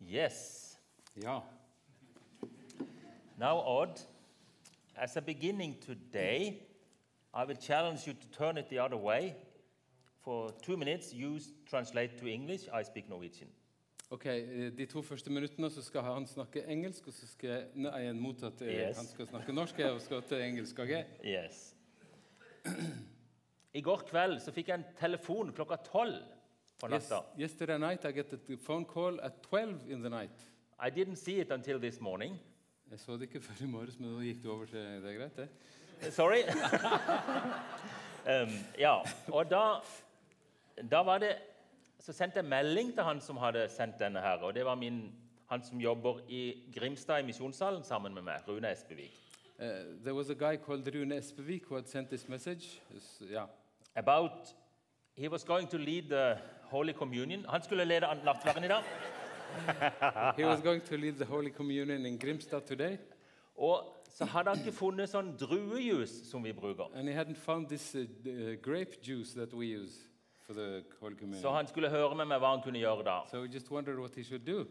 Yes. Ja. Now, Odd, as a beginning today, I will challenge you to turn it the other way. For two minutes, you s- translate to English, I speak Norwegian. Ok, eh, De to første minuttene så skal han snakke engelsk, og så skal jeg Nei, jeg mot at eh, Yes. han skal snakke norsk. Jeg skal til engelsk òg. Yes. I går kveld så fikk jeg en telefon klokka tolv på Yes, natta. yesterday night I get a phone call at 12 in the night. I didn't see it until this morning. Jeg så det ikke før i morges, men nå gikk det over til Det er greit, det? Sorry. um, ja, og da, da var det Så sendte jeg melding til han som hadde sendt denne her. Og det var min, han som jobber i Grimstad i Misjonssalen sammen med meg, Rune Espevik. Eh, there was a guy called Rune Espevik who had sent this message. Yes, yeah. About He was going to lead the Holy Communion. Han skulle lede an- nattverden i dag. He was going to lead the Holy Communion in Grimstad today, Og så hadde han ikke funnet sånn druejus som vi bruker. and he hadn't found this uh, d- uh, grape juice that we use for the Holy Communion. Så han skulle høre med meg hva han kunne gjøre da. So we just wondered what he should do.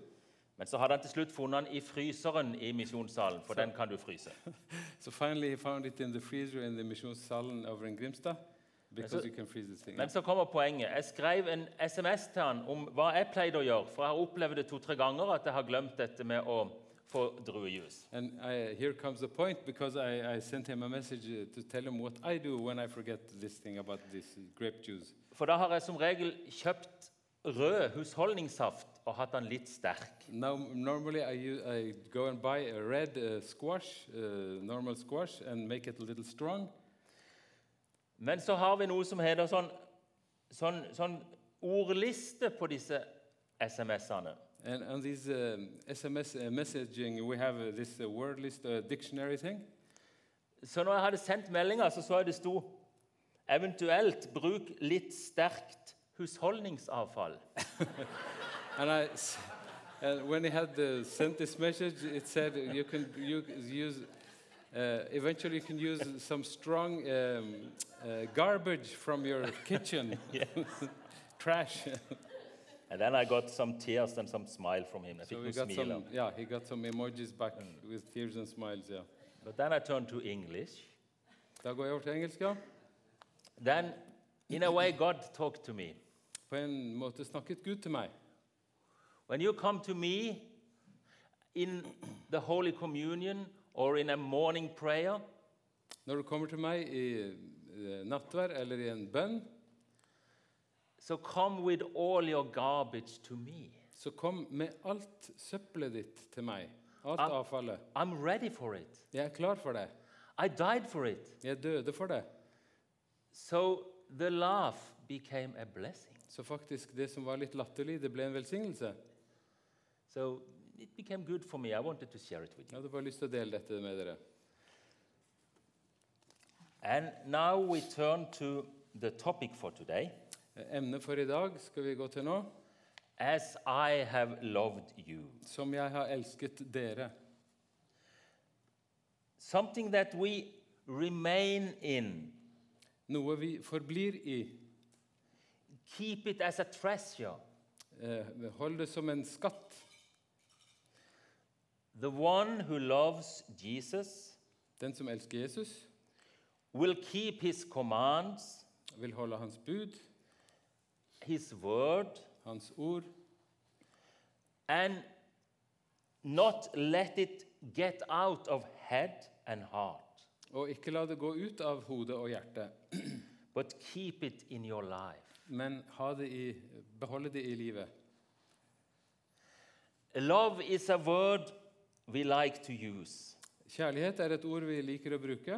Men så hadde han til slutt funnet han i fryseren i misjonssalen, for den kan du fryse. So finally, he found it in the freezer in the Misjonssalen over in Grimstad because so- you can freeze this thing. Men så kommer poenget. Jeg skrev en SMS til han om hva jeg pleide å gjøre, for jeg har opplevd det to-tre ganger at jeg har glemt dette med å få druejus. And I, here comes the point because I, I sent him a message uh, to tell him what I do when I forget this thing about this grape juice. For da har jeg som regel kjøpt rød husholdningssaft og hatt den litt sterk. Now, normally I, u- I go and buy a red uh, squash, uh, normal squash, and make it a little strong. Men så har vi noe som heter sånn, sånn, sånn ordliste på disse SMS-ene. And on these um, SMS uh, messaging, we have uh, this uh, word list uh, dictionary thing. Så når jeg hadde sendt meldinga, så så jeg det sto Eventuelt bruk litt sterkt husholdningsavfall. And I, s- and when he had uh, sent this message, it said you can you c- use. Uh, eventually, you can use some strong um, uh, garbage from your kitchen, trash. And then I got some tears and some smile from him. Jeg fikk so we noen got smiler. some. Yeah, he got some emojis back with tears and smiles. Yeah. But then I turned to English. Da går jeg over til engelsk. ja. Then, in a way, God talked to me. På en måte snakket Gud til meg. When you come to me in the Holy Communion or in a morning prayer, Når du kommer til meg i eh, nattverd eller i en bønn, so come with all your garbage to me. så kom med alt søppelet ditt til meg. Alt Am- avfallet. I'm ready for it. Jeg er klar for det. I died for it. Jeg døde for det. So the laugh became a blessing. Så faktisk, det som var litt latterlig, det ble en velsignelse. So it became good for me. I wanted to share it with you. Jeg hadde bare lyst til å dele dette med dere. And now we turn to the topic for today Eh, Emnet for i dag skal vi gå til nå. As I have loved you. Som jeg har elsket dere. something that we remain in, Noe vi forblir i. keep it as a treasure, Eh, Hold det som en skatt. the one who loves Jesus Den som elsker Jesus, will keep his commands, vil holde hans bud, his word, hans ord, and not let it get out of head and heart, og ikke la det gå ut av hodet og hjertet, but keep it in your life. men ha det i, beholde det i livet. Love is a word we like to use Kjærlighet er et ord vi liker å bruke.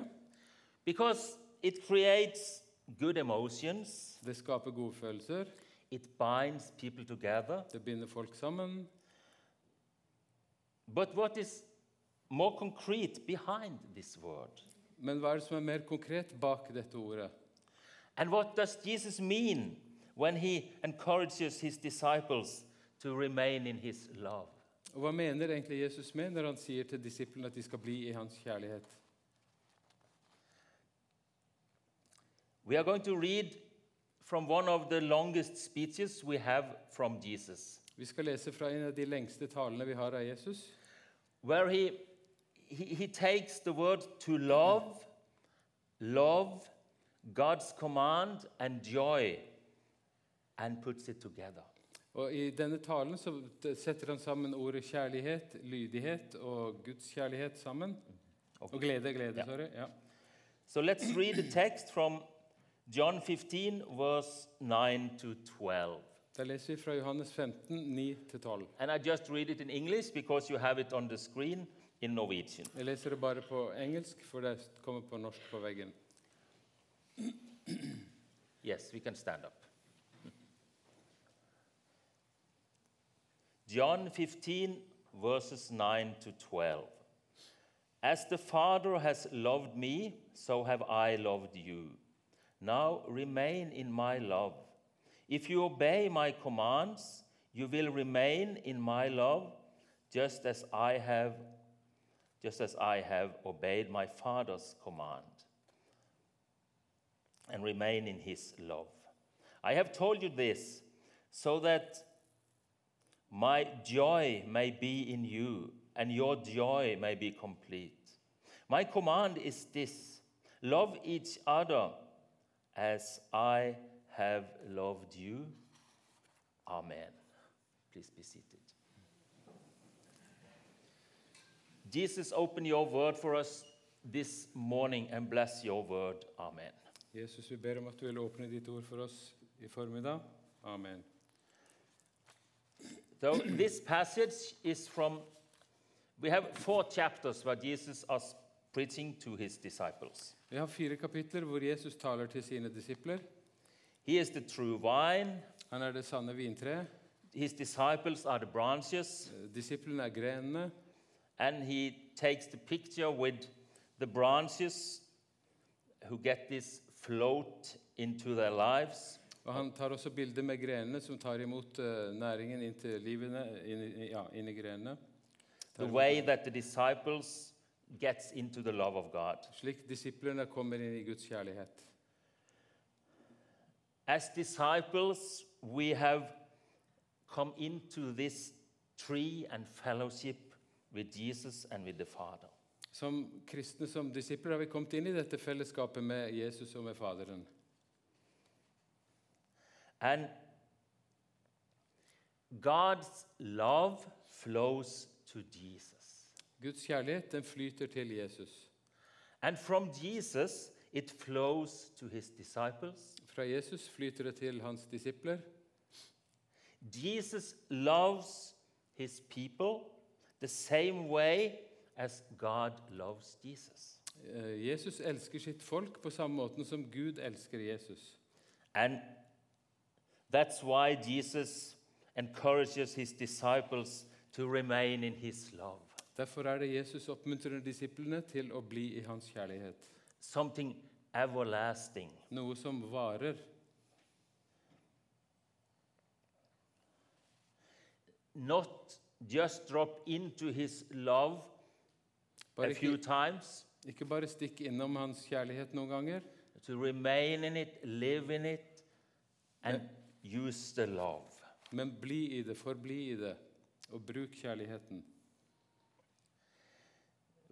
because it creates good emotions, Det skaper gode følelser, it binds people together. det binder folk sammen, But what is more concrete behind this word? Men hva er det som er mer konkret bak dette ordet? And what does Jesus mean when he encourages his disciples to remain in his love? Og hva mener egentlig Jesus med når han sier til disiplene at de skal bli i hans kjærlighet? We are going to read from one of the longest speeches we have from Jesus. Vi skal lese fra en av de lengste talene vi har av Jesus. where he, he, he takes the word to love, love, God's command, and joy, and puts it together. Og I denne talen så t- setter han sammen ordet kjærlighet, lydighet og Guds kjærlighet sammen. Og glede, glede, Ja. sorry. Ja. So let's read the text from John 15, verse 9 to 12. Da leser vi fra Johannes 15, 9-12. And I just read it in English because you have it on the screen in Norwegian. Jeg leser det bare på engelsk, for det kommer på norsk på veggen. Yes, we can stand up. John 15, verses 9 to 12. As the Father has loved me, so have I loved you. Now remain in my love. If you obey my commands, you will remain in my love, just as I have just as I have obeyed my Father's command and remain in his love. I have told you this so that my joy may be in you and your joy may be complete. My command is this love each other as I have loved you. Amen. Please be seated. Jesus, open your word for us this morning and bless your word. Amen. Jesus, vi ber om at du vil åpne ditt ord for oss i formiddag. Amen. So this passage is from, we have four chapters where Jesus is preaching to his disciples. Vi har fire kapitler hvor Jesus taler til sine disipler. He is the true vine, Han er det sanne vintreet. his disciples are the branches, Eh, Disiplene er grenene. and he takes the picture with the branches who get this float into their lives. Og Han tar også bilder med grenene som tar imot eh, næringen inn til livene, inn, i- ja, inn i grenene. The way that the disciples gets into the love of God. Slik disiplene kommer inn i Guds kjærlighet. As disciples, we have come into this tree and fellowship with Jesus and with the Father. Som kristne som disipler har vi kommet inn i dette fellesskapet med Jesus og med Faderen. And God's love flows to Jesus. Guds kjærlighet den flyter til Jesus. And from Jesus, it flows to his disciples. Fra Jesus flyter det til hans disipler. Jesus loves his people the same way as God loves Jesus. Eh, Jesus elsker sitt folk på samme måten som Gud elsker Jesus. And that's why Jesus encourages his disciples to remain in his love. Derfor er det Jesus oppmuntrer disiplene til å bli i hans kjærlighet. Something everlasting. Noe som varer. Not just drop into his love a Bare few ikke, times, ikke bare stikk innom hans kjærlighet noen ganger, to remain in it, live in it, and use the love. men bli i det, forbli i det, og bruk kjærligheten.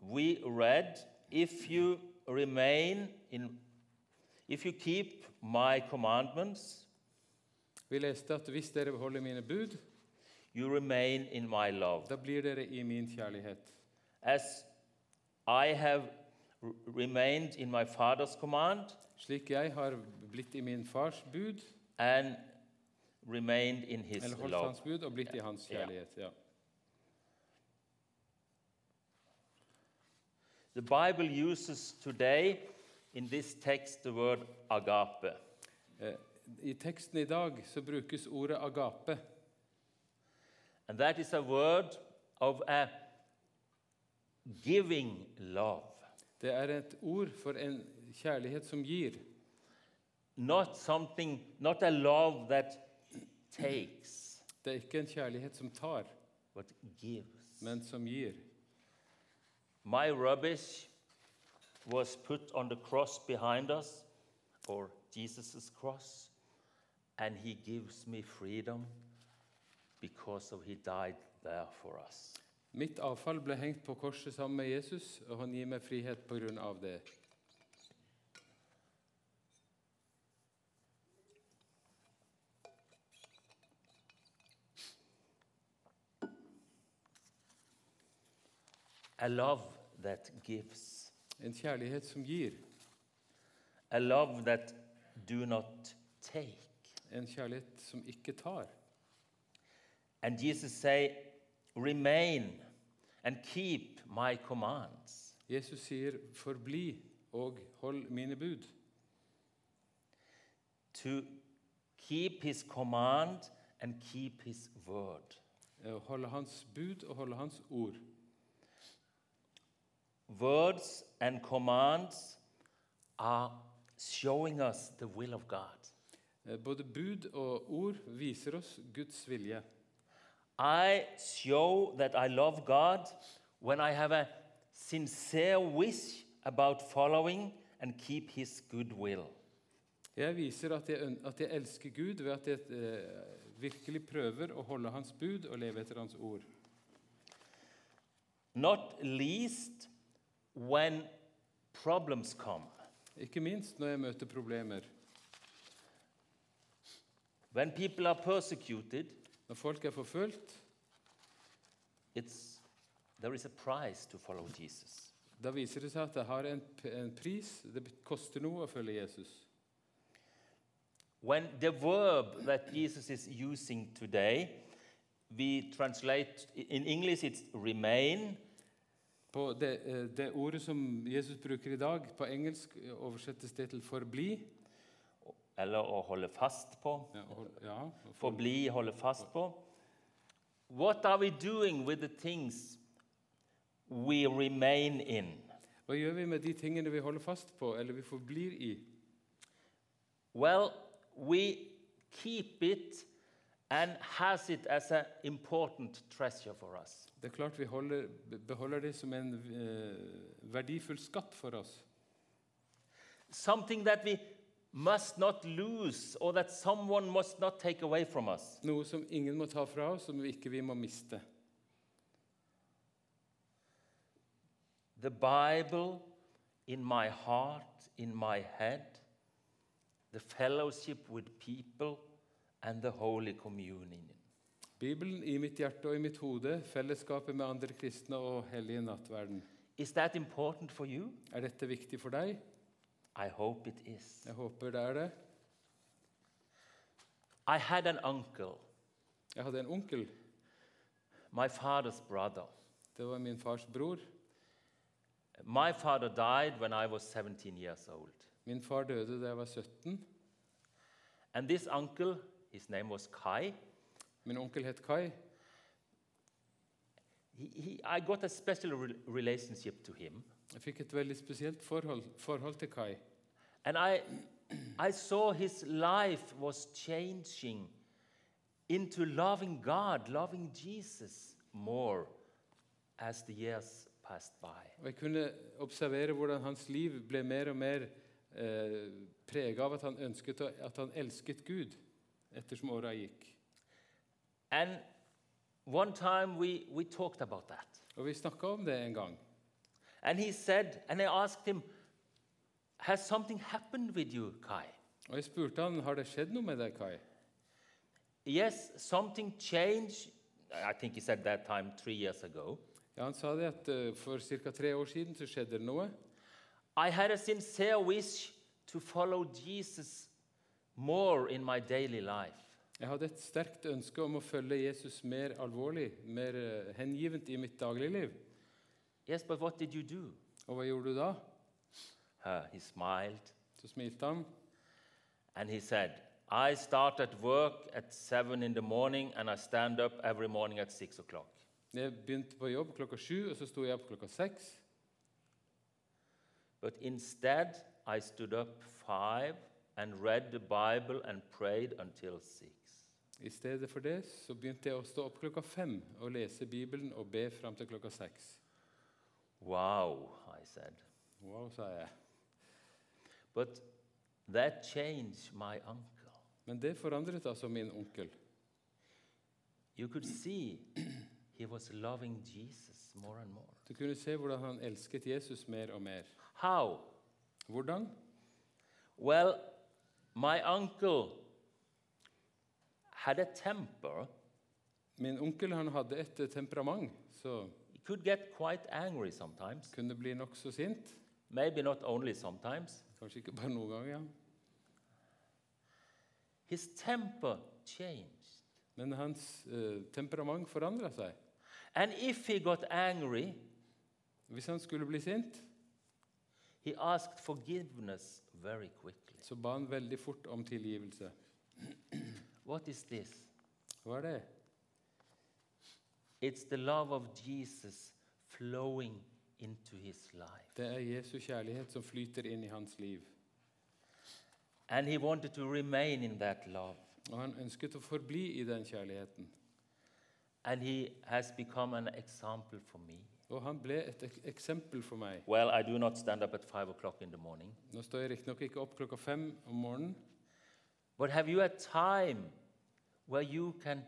We read, if you remain in, if you keep my commandments, Vi leste at hvis dere holder mine bud, you remain in my love. da blir dere i min kjærlighet. As I have r- remained in my Father's command Slik jeg har blitt i min fars bud, and remained in His eller holdt love. hans bud og blitt i hans Ja. kjærlighet. Ja. The Bible uses today in this text the word agape. Eh, I teksten i dag så brukes ordet agape. And that is a word of a giving love, Det er et ord for en kjærlighet som gir. not something, not a love that takes, Det er ikke en kjærlighet som tar, but gives. men som gir. My rubbish was put on the cross behind us, or Jesus' cross, and He gives me freedom because of he died there for us. Mitt avfall ble hengt på korset sammen med Jesus, og han gir meg frihet på grunn av det. A love that gives. En kjærlighet som gir, A love that do not take. en kjærlighet som ikke tar. And Jesus say, remain and keep my commands. Jesus sier, 'Forbli og hold mine bud'. To keep his command and keep his word. Eh, Holde hans bud og holde hans ord. Words and commands are showing us the will of God. Eh, Både bud og ord viser oss Guds vilje. I show that I love God when I have a sincere wish about following and keep his good will. Jeg viser at jeg, øn- at jeg elsker Gud ved at jeg eh, virkelig prøver å holde hans bud og leve etter hans ord. Not least when problems come. Ikke minst når jeg møter problemer. When people are persecuted, Når folk er forfulgt, it's, there is a price to follow Jesus. da viser det seg at det har en, p- en pris. Det bet- koster noe å følge Jesus. When the verb that Jesus is using today, we translate in English it's remain, På det, eh, det ordet som Jesus bruker i dag, på engelsk eh, oversettes det til 'forbli'. eller å holde fast på. Ja, og hold, ja, og for, Forbli, holde fast på. What are we doing with the things we remain in? hva gjør vi med de tingene vi holder fast på, eller vi forblir i? Well, we keep it and has it as an important treasure for us. Det er klart vi holder, be- beholder det som en eh, verdifull skatt for oss. Something that we must not lose or that someone must not take away from us. Noe som ingen må ta fra oss, som vi ikke vi må miste. The Bible in my heart, in my head, the fellowship with people, and the Holy Communion. Bibelen i mitt hjerte og i mitt hode, fellesskapet med andre kristne og hellige nattverden. Is that important for you? Er dette viktig for deg? I hope it is. Jeg håper det er det. I had an uncle, Jeg hadde en onkel. my father's brother. Det var min fars bror. My father died when I was 17 years old. Min far døde da jeg var 17. And this uncle, his name was Kai, Min onkel het Kai. he, he, I got a special re- relationship to him. Jeg fikk et veldig spesielt forhold, forhold til Kai. And I, I saw his life was changing into loving God, loving Jesus more as the years passed by. Og jeg kunne observere hvordan hans liv ble mer og mer eh, prega av at han ønsket å, at han elsket Gud ettersom åra gikk. And one time we, we talked about that. Og vi snakka om det en gang. And he said, and I asked him, Has something happened with you, Kai? Og jeg spurte han har det skjedd noe med deg, Kai. Yes, something changed. I think he said that time three years ago. Ja, Han sa det at eh, for ca. tre år siden så skjedde det noe. I had a sincere wish to follow Jesus more in my daily life. Jeg hadde et sterkt ønske om å følge Jesus mer alvorlig, mer eh, hengivent i mitt dagligliv. Yes, but what did you do? Og hva gjorde du da? Uh, he smiled Så smilte han. and he said, I start at work at seven in the morning and I stand up every morning at six o'clock. Jeg begynte på jobb klokka sju, og så sto jeg opp klokka seks. But instead, I stood up five and read the Bible and prayed until six. I stedet for det så begynte jeg å stå opp klokka fem og lese Bibelen og be fram til klokka seks. Wow, I said. Wow, sa jeg. But that changed my uncle. Men det forandret altså min onkel. you could see he was loving Jesus more and more. Du kunne se hvordan han elsket Jesus mer og mer. How? Hvordan? Well, my uncle had a temper. Min onkel han hadde et eh, temperament, så He could get quite angry sometimes, kunne bli nokså sint. maybe not only sometimes. Kanskje ikke bare noen ganger. Ja. His temper changed. Men hans eh, temperament forandra seg. And if he got angry, Hvis han skulle bli sint, he asked forgiveness very quickly. så ba han veldig fort om tilgivelse. What is this? Hva er det? It's the love of Jesus flowing into his life. Det er Jesu kjærlighet som flyter inn i hans liv. And he wanted to remain in that love. Og han ønsket å forbli i den kjærligheten. And he has become an example for me. Og han ble et ek eksempel for meg. Well, I do not stand up at five o'clock in the morning. Nå står jeg riktignok ikke opp klokka fem om morgenen, But have you a time where you can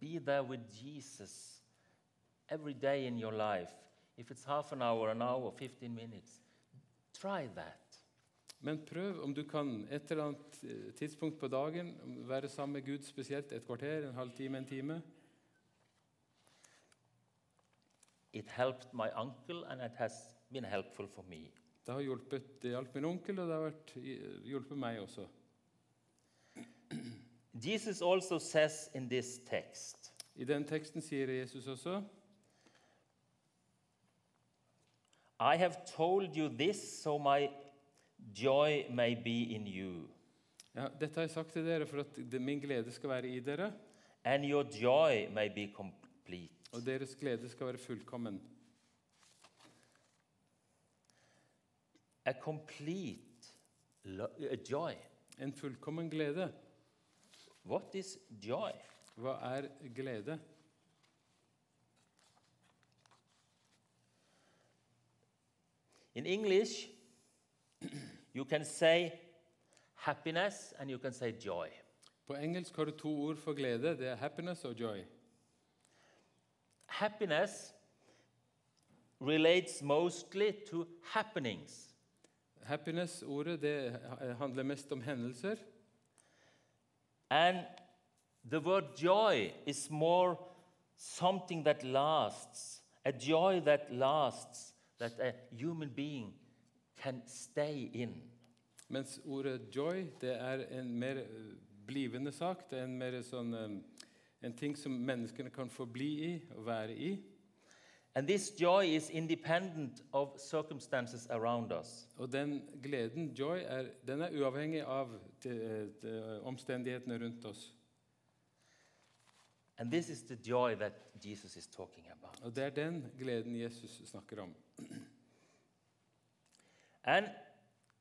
be there with Jesus every day in your life? If it's half an hour, an hour, 15 minutes, try that. men prøv om du kan et eller annet eh, tidspunkt på dagen være sammen med Gud spesielt et kvarter, en halv time, en time. It helped my uncle and it has been helpful for me. Det har hjulpet, det hjalp min onkel, og det har vært, eh, hjulpet meg også. Jesus also says in this text, I den teksten sier Jesus også I have told you this so my joy may be in you, ja, Dette har jeg sagt til dere for at det, min glede skal være i dere, and your joy may be complete. og deres glede skal være fullkommen. A complete lo- a joy. En fullkommen glede. What is joy? Hva er glede? In English, you can say happiness and you can say joy. På engelsk har du to ord for glede. Det er happiness og joy. Happiness relates mostly to happenings. Happiness-ordet det ha- handler mest om hendelser. And the word joy is more something that lasts, a joy that lasts, that a human being can stay in. Mens ordet joy det er en mer eh, blivende sak. Det er en, mer sånn, eh, en ting som menneskene kan forbli i og være i. And this joy is independent of circumstances around us. Og den gleden, joy, er, den er uavhengig av de, de, omstendighetene rundt oss. And this is the joy that Jesus is talking about. Og det er den gleden Jesus snakker om. And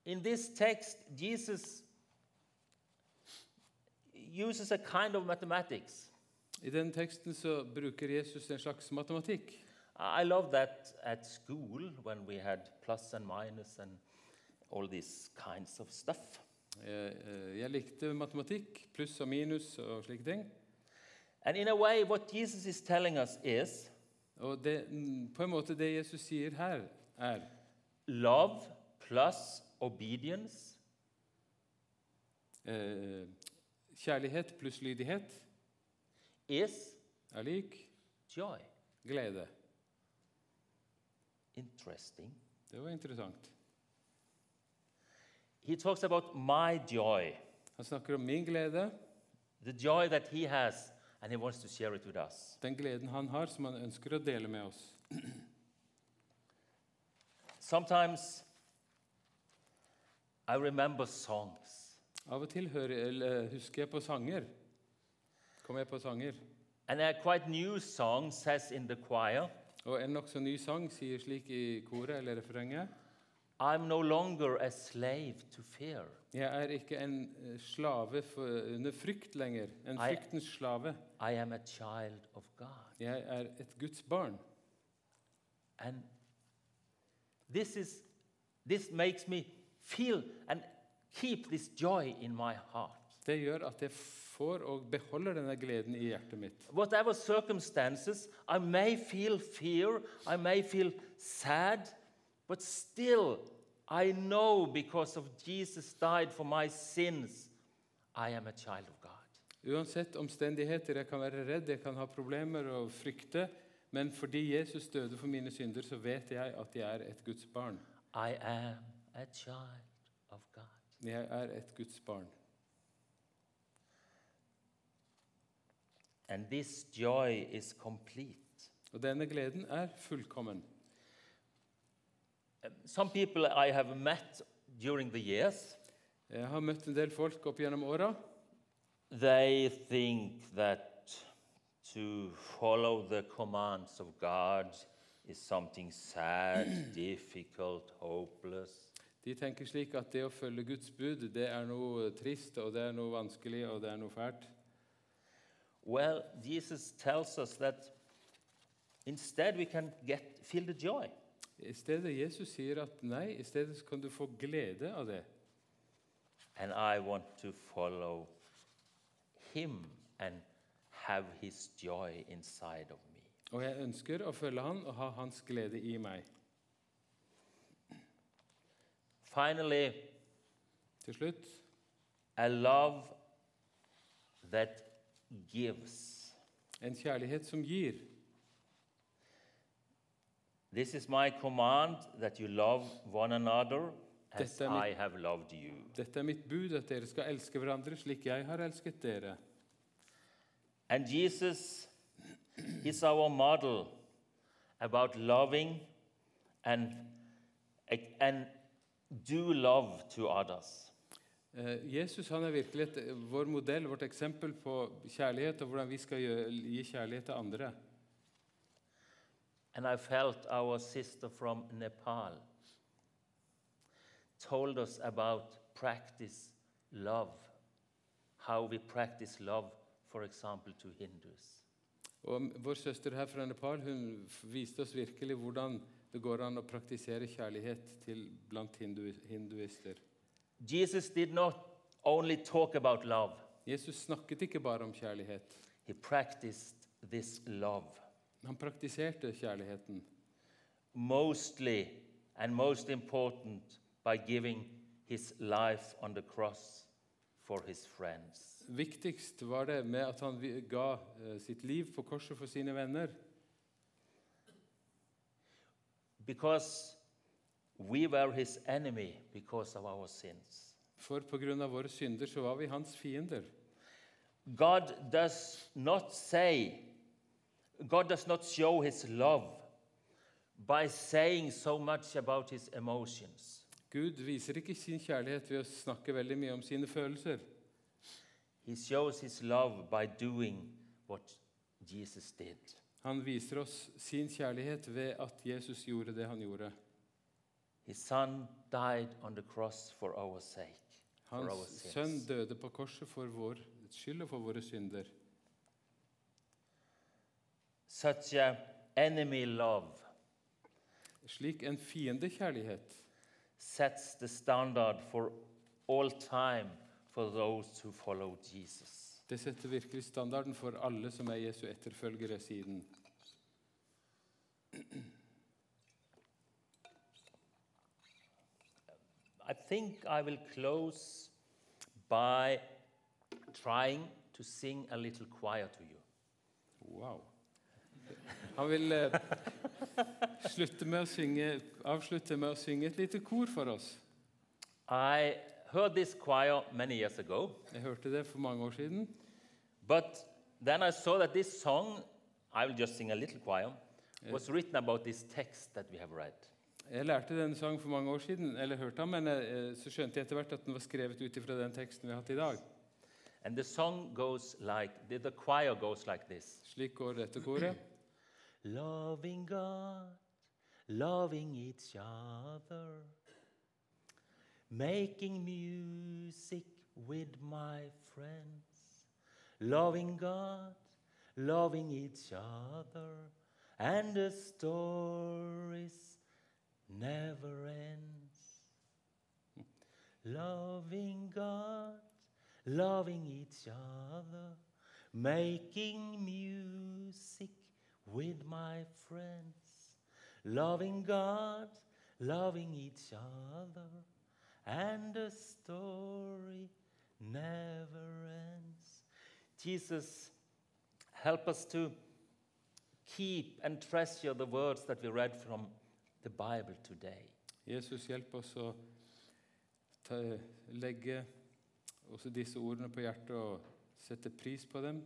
in this text, Jesus uses a kind of mathematics. I den teksten så bruker Jesus en slags matematikk. I love that at school when we had plus and minus and all these kinds of stuff. Jeg, eh, jeg likte matematikk, pluss og minus og slike ting. And in a way, what Jesus is telling us is Og det, mm, på en måte det Jesus sier her, er love plus obedience eh, kjærlighet pluss lydighet is er lik joy. glede. Interesting. Det var interessant. He talks about my joy, Han snakker om min glede, the joy that he has, and he wants to share it with us. den gleden han har, som han ønsker å dele med oss. Sometimes I remember songs, Av og til hører, eller, husker jeg på sanger. Kommer jeg på sanger. and a quite new song says in the choir, Og en nokså ny sang sier slik i koret eller refrenget I'm no longer a slave to fear. Jeg er ikke en eh, slave for, under frykt lenger. En Nei. fryktens slave. I am a child of God. Jeg er et Guds barn. And this is this makes me feel an Keep this joy in my heart. Det gjør at jeg får og beholder denne gleden i hjertet mitt. Whatever circumstances, I may feel fear, I may feel sad, but still I know because of Jesus died for my sins, I am a child of God. Uansett omstendigheter, jeg kan være redd, jeg kan ha problemer og frykte, men fordi Jesus døde for mine synder, så vet jeg at jeg er et Guds barn. I am a child of God. Jeg er et Guds barn. And this joy is complete. Og denne gleden er fullkommen. Some people I have met during the years, Jeg har møtt en del folk opp gjennom åra. they think that to follow the commands of God is something sad, difficult, hopeless. De tenker slik at det å følge Guds bud, det er noe trist, og det er noe vanskelig, og det er noe fælt. Well, Jesus tells us that instead we can get feel the joy. I stedet Jesus sier at nei, i stedet så kan du få glede av det. And I want to follow him and have his joy inside of me. Og jeg ønsker å følge han og ha hans glede i meg. Finally, Til slutt a love that gives. en kjærlighet som gir. This is my command that you love one another as Detta är mitt- I have loved you. Dette er mitt bud, at dere skal elske hverandre slik jeg har elsket dere. And Jesus is our model about loving and, and do love to others. Eh, Jesus han er virkelig et, vår modell, vårt eksempel på kjærlighet og hvordan vi skal gjø- gi kjærlighet til andre. And I felt our sister from Nepal told us about practice love, how we practice love, for example, to Hindus. Og m- Vår søster her fra Nepal hun f- viste oss virkelig hvordan det går an å praktisere kjærlighet til blant hindu, hinduister. Jesus did not only talk about love, Jesus snakket ikke bare om kjærlighet. he practiced this love Han praktiserte kjærligheten. mostly and most important by giving his life on the cross for his friends. Viktigst var det med at han vi- ga eh, sitt liv på korset for sine venner. Because we were his enemy because of our sins. For pga. våre synder så var vi hans fiender. God does not say, God does not show his love by saying so much about his emotions. Gud viser ikke sin kjærlighet ved å snakke veldig mye om sine følelser. He shows his love by doing what Jesus did. Han viser oss sin kjærlighet ved at Jesus gjorde det han gjorde. His son died on the cross for our sake, for our Hans sins. sønn døde på korset for vår skyld og for våre synder. Such a enemy love Slik en fiendekjærlighet sets the standard for all time for those who follow Jesus. det setter virkelig standarden for alle som er Jesu etterfølgere siden. I think I will close by trying to sing a little choir to you. Wow. Han vil eh, slutte med å synge, avslutte med å synge et lite kor for oss. I heard this choir many years ago, Jeg hørte det for mange år siden. but then I saw that this song, I will just sing a little choir, was written about this text that we have read. Jeg lærte denne sangen for mange år siden, eller hørte den, men eh, så skjønte jeg etter hvert at den var skrevet ut ifra den teksten vi har hatt i dag. And the song goes like the, the choir goes like this Slik går dette koret. Loving God, loving each other, making music with my friends. Loving God, loving each other, and the stories never ends. Loving God, loving each other, making music with my friends. Loving God, loving each other, and the story never ends. Jesus, help us to keep and treasure the words that we read from the Bible today. Jesus, hjelp oss å ta, legge også disse ordene på hjertet og sette pris på dem.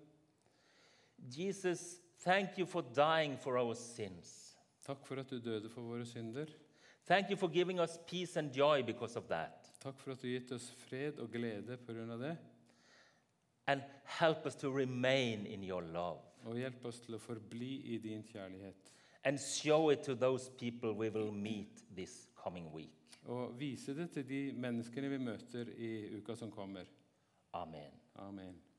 Jesus, thank you for dying for our sins. Takk for at du døde for våre synder. Thank you for giving us peace and joy because of that. Takk for at du har gitt oss fred og glede pga. det. And help us to remain in your love Og hjelp oss til å forbli i din kjærlighet. and show it to those people we will meet this coming week. Og vise det til de menneskene vi møter i uka som kommer. Amen. Amen.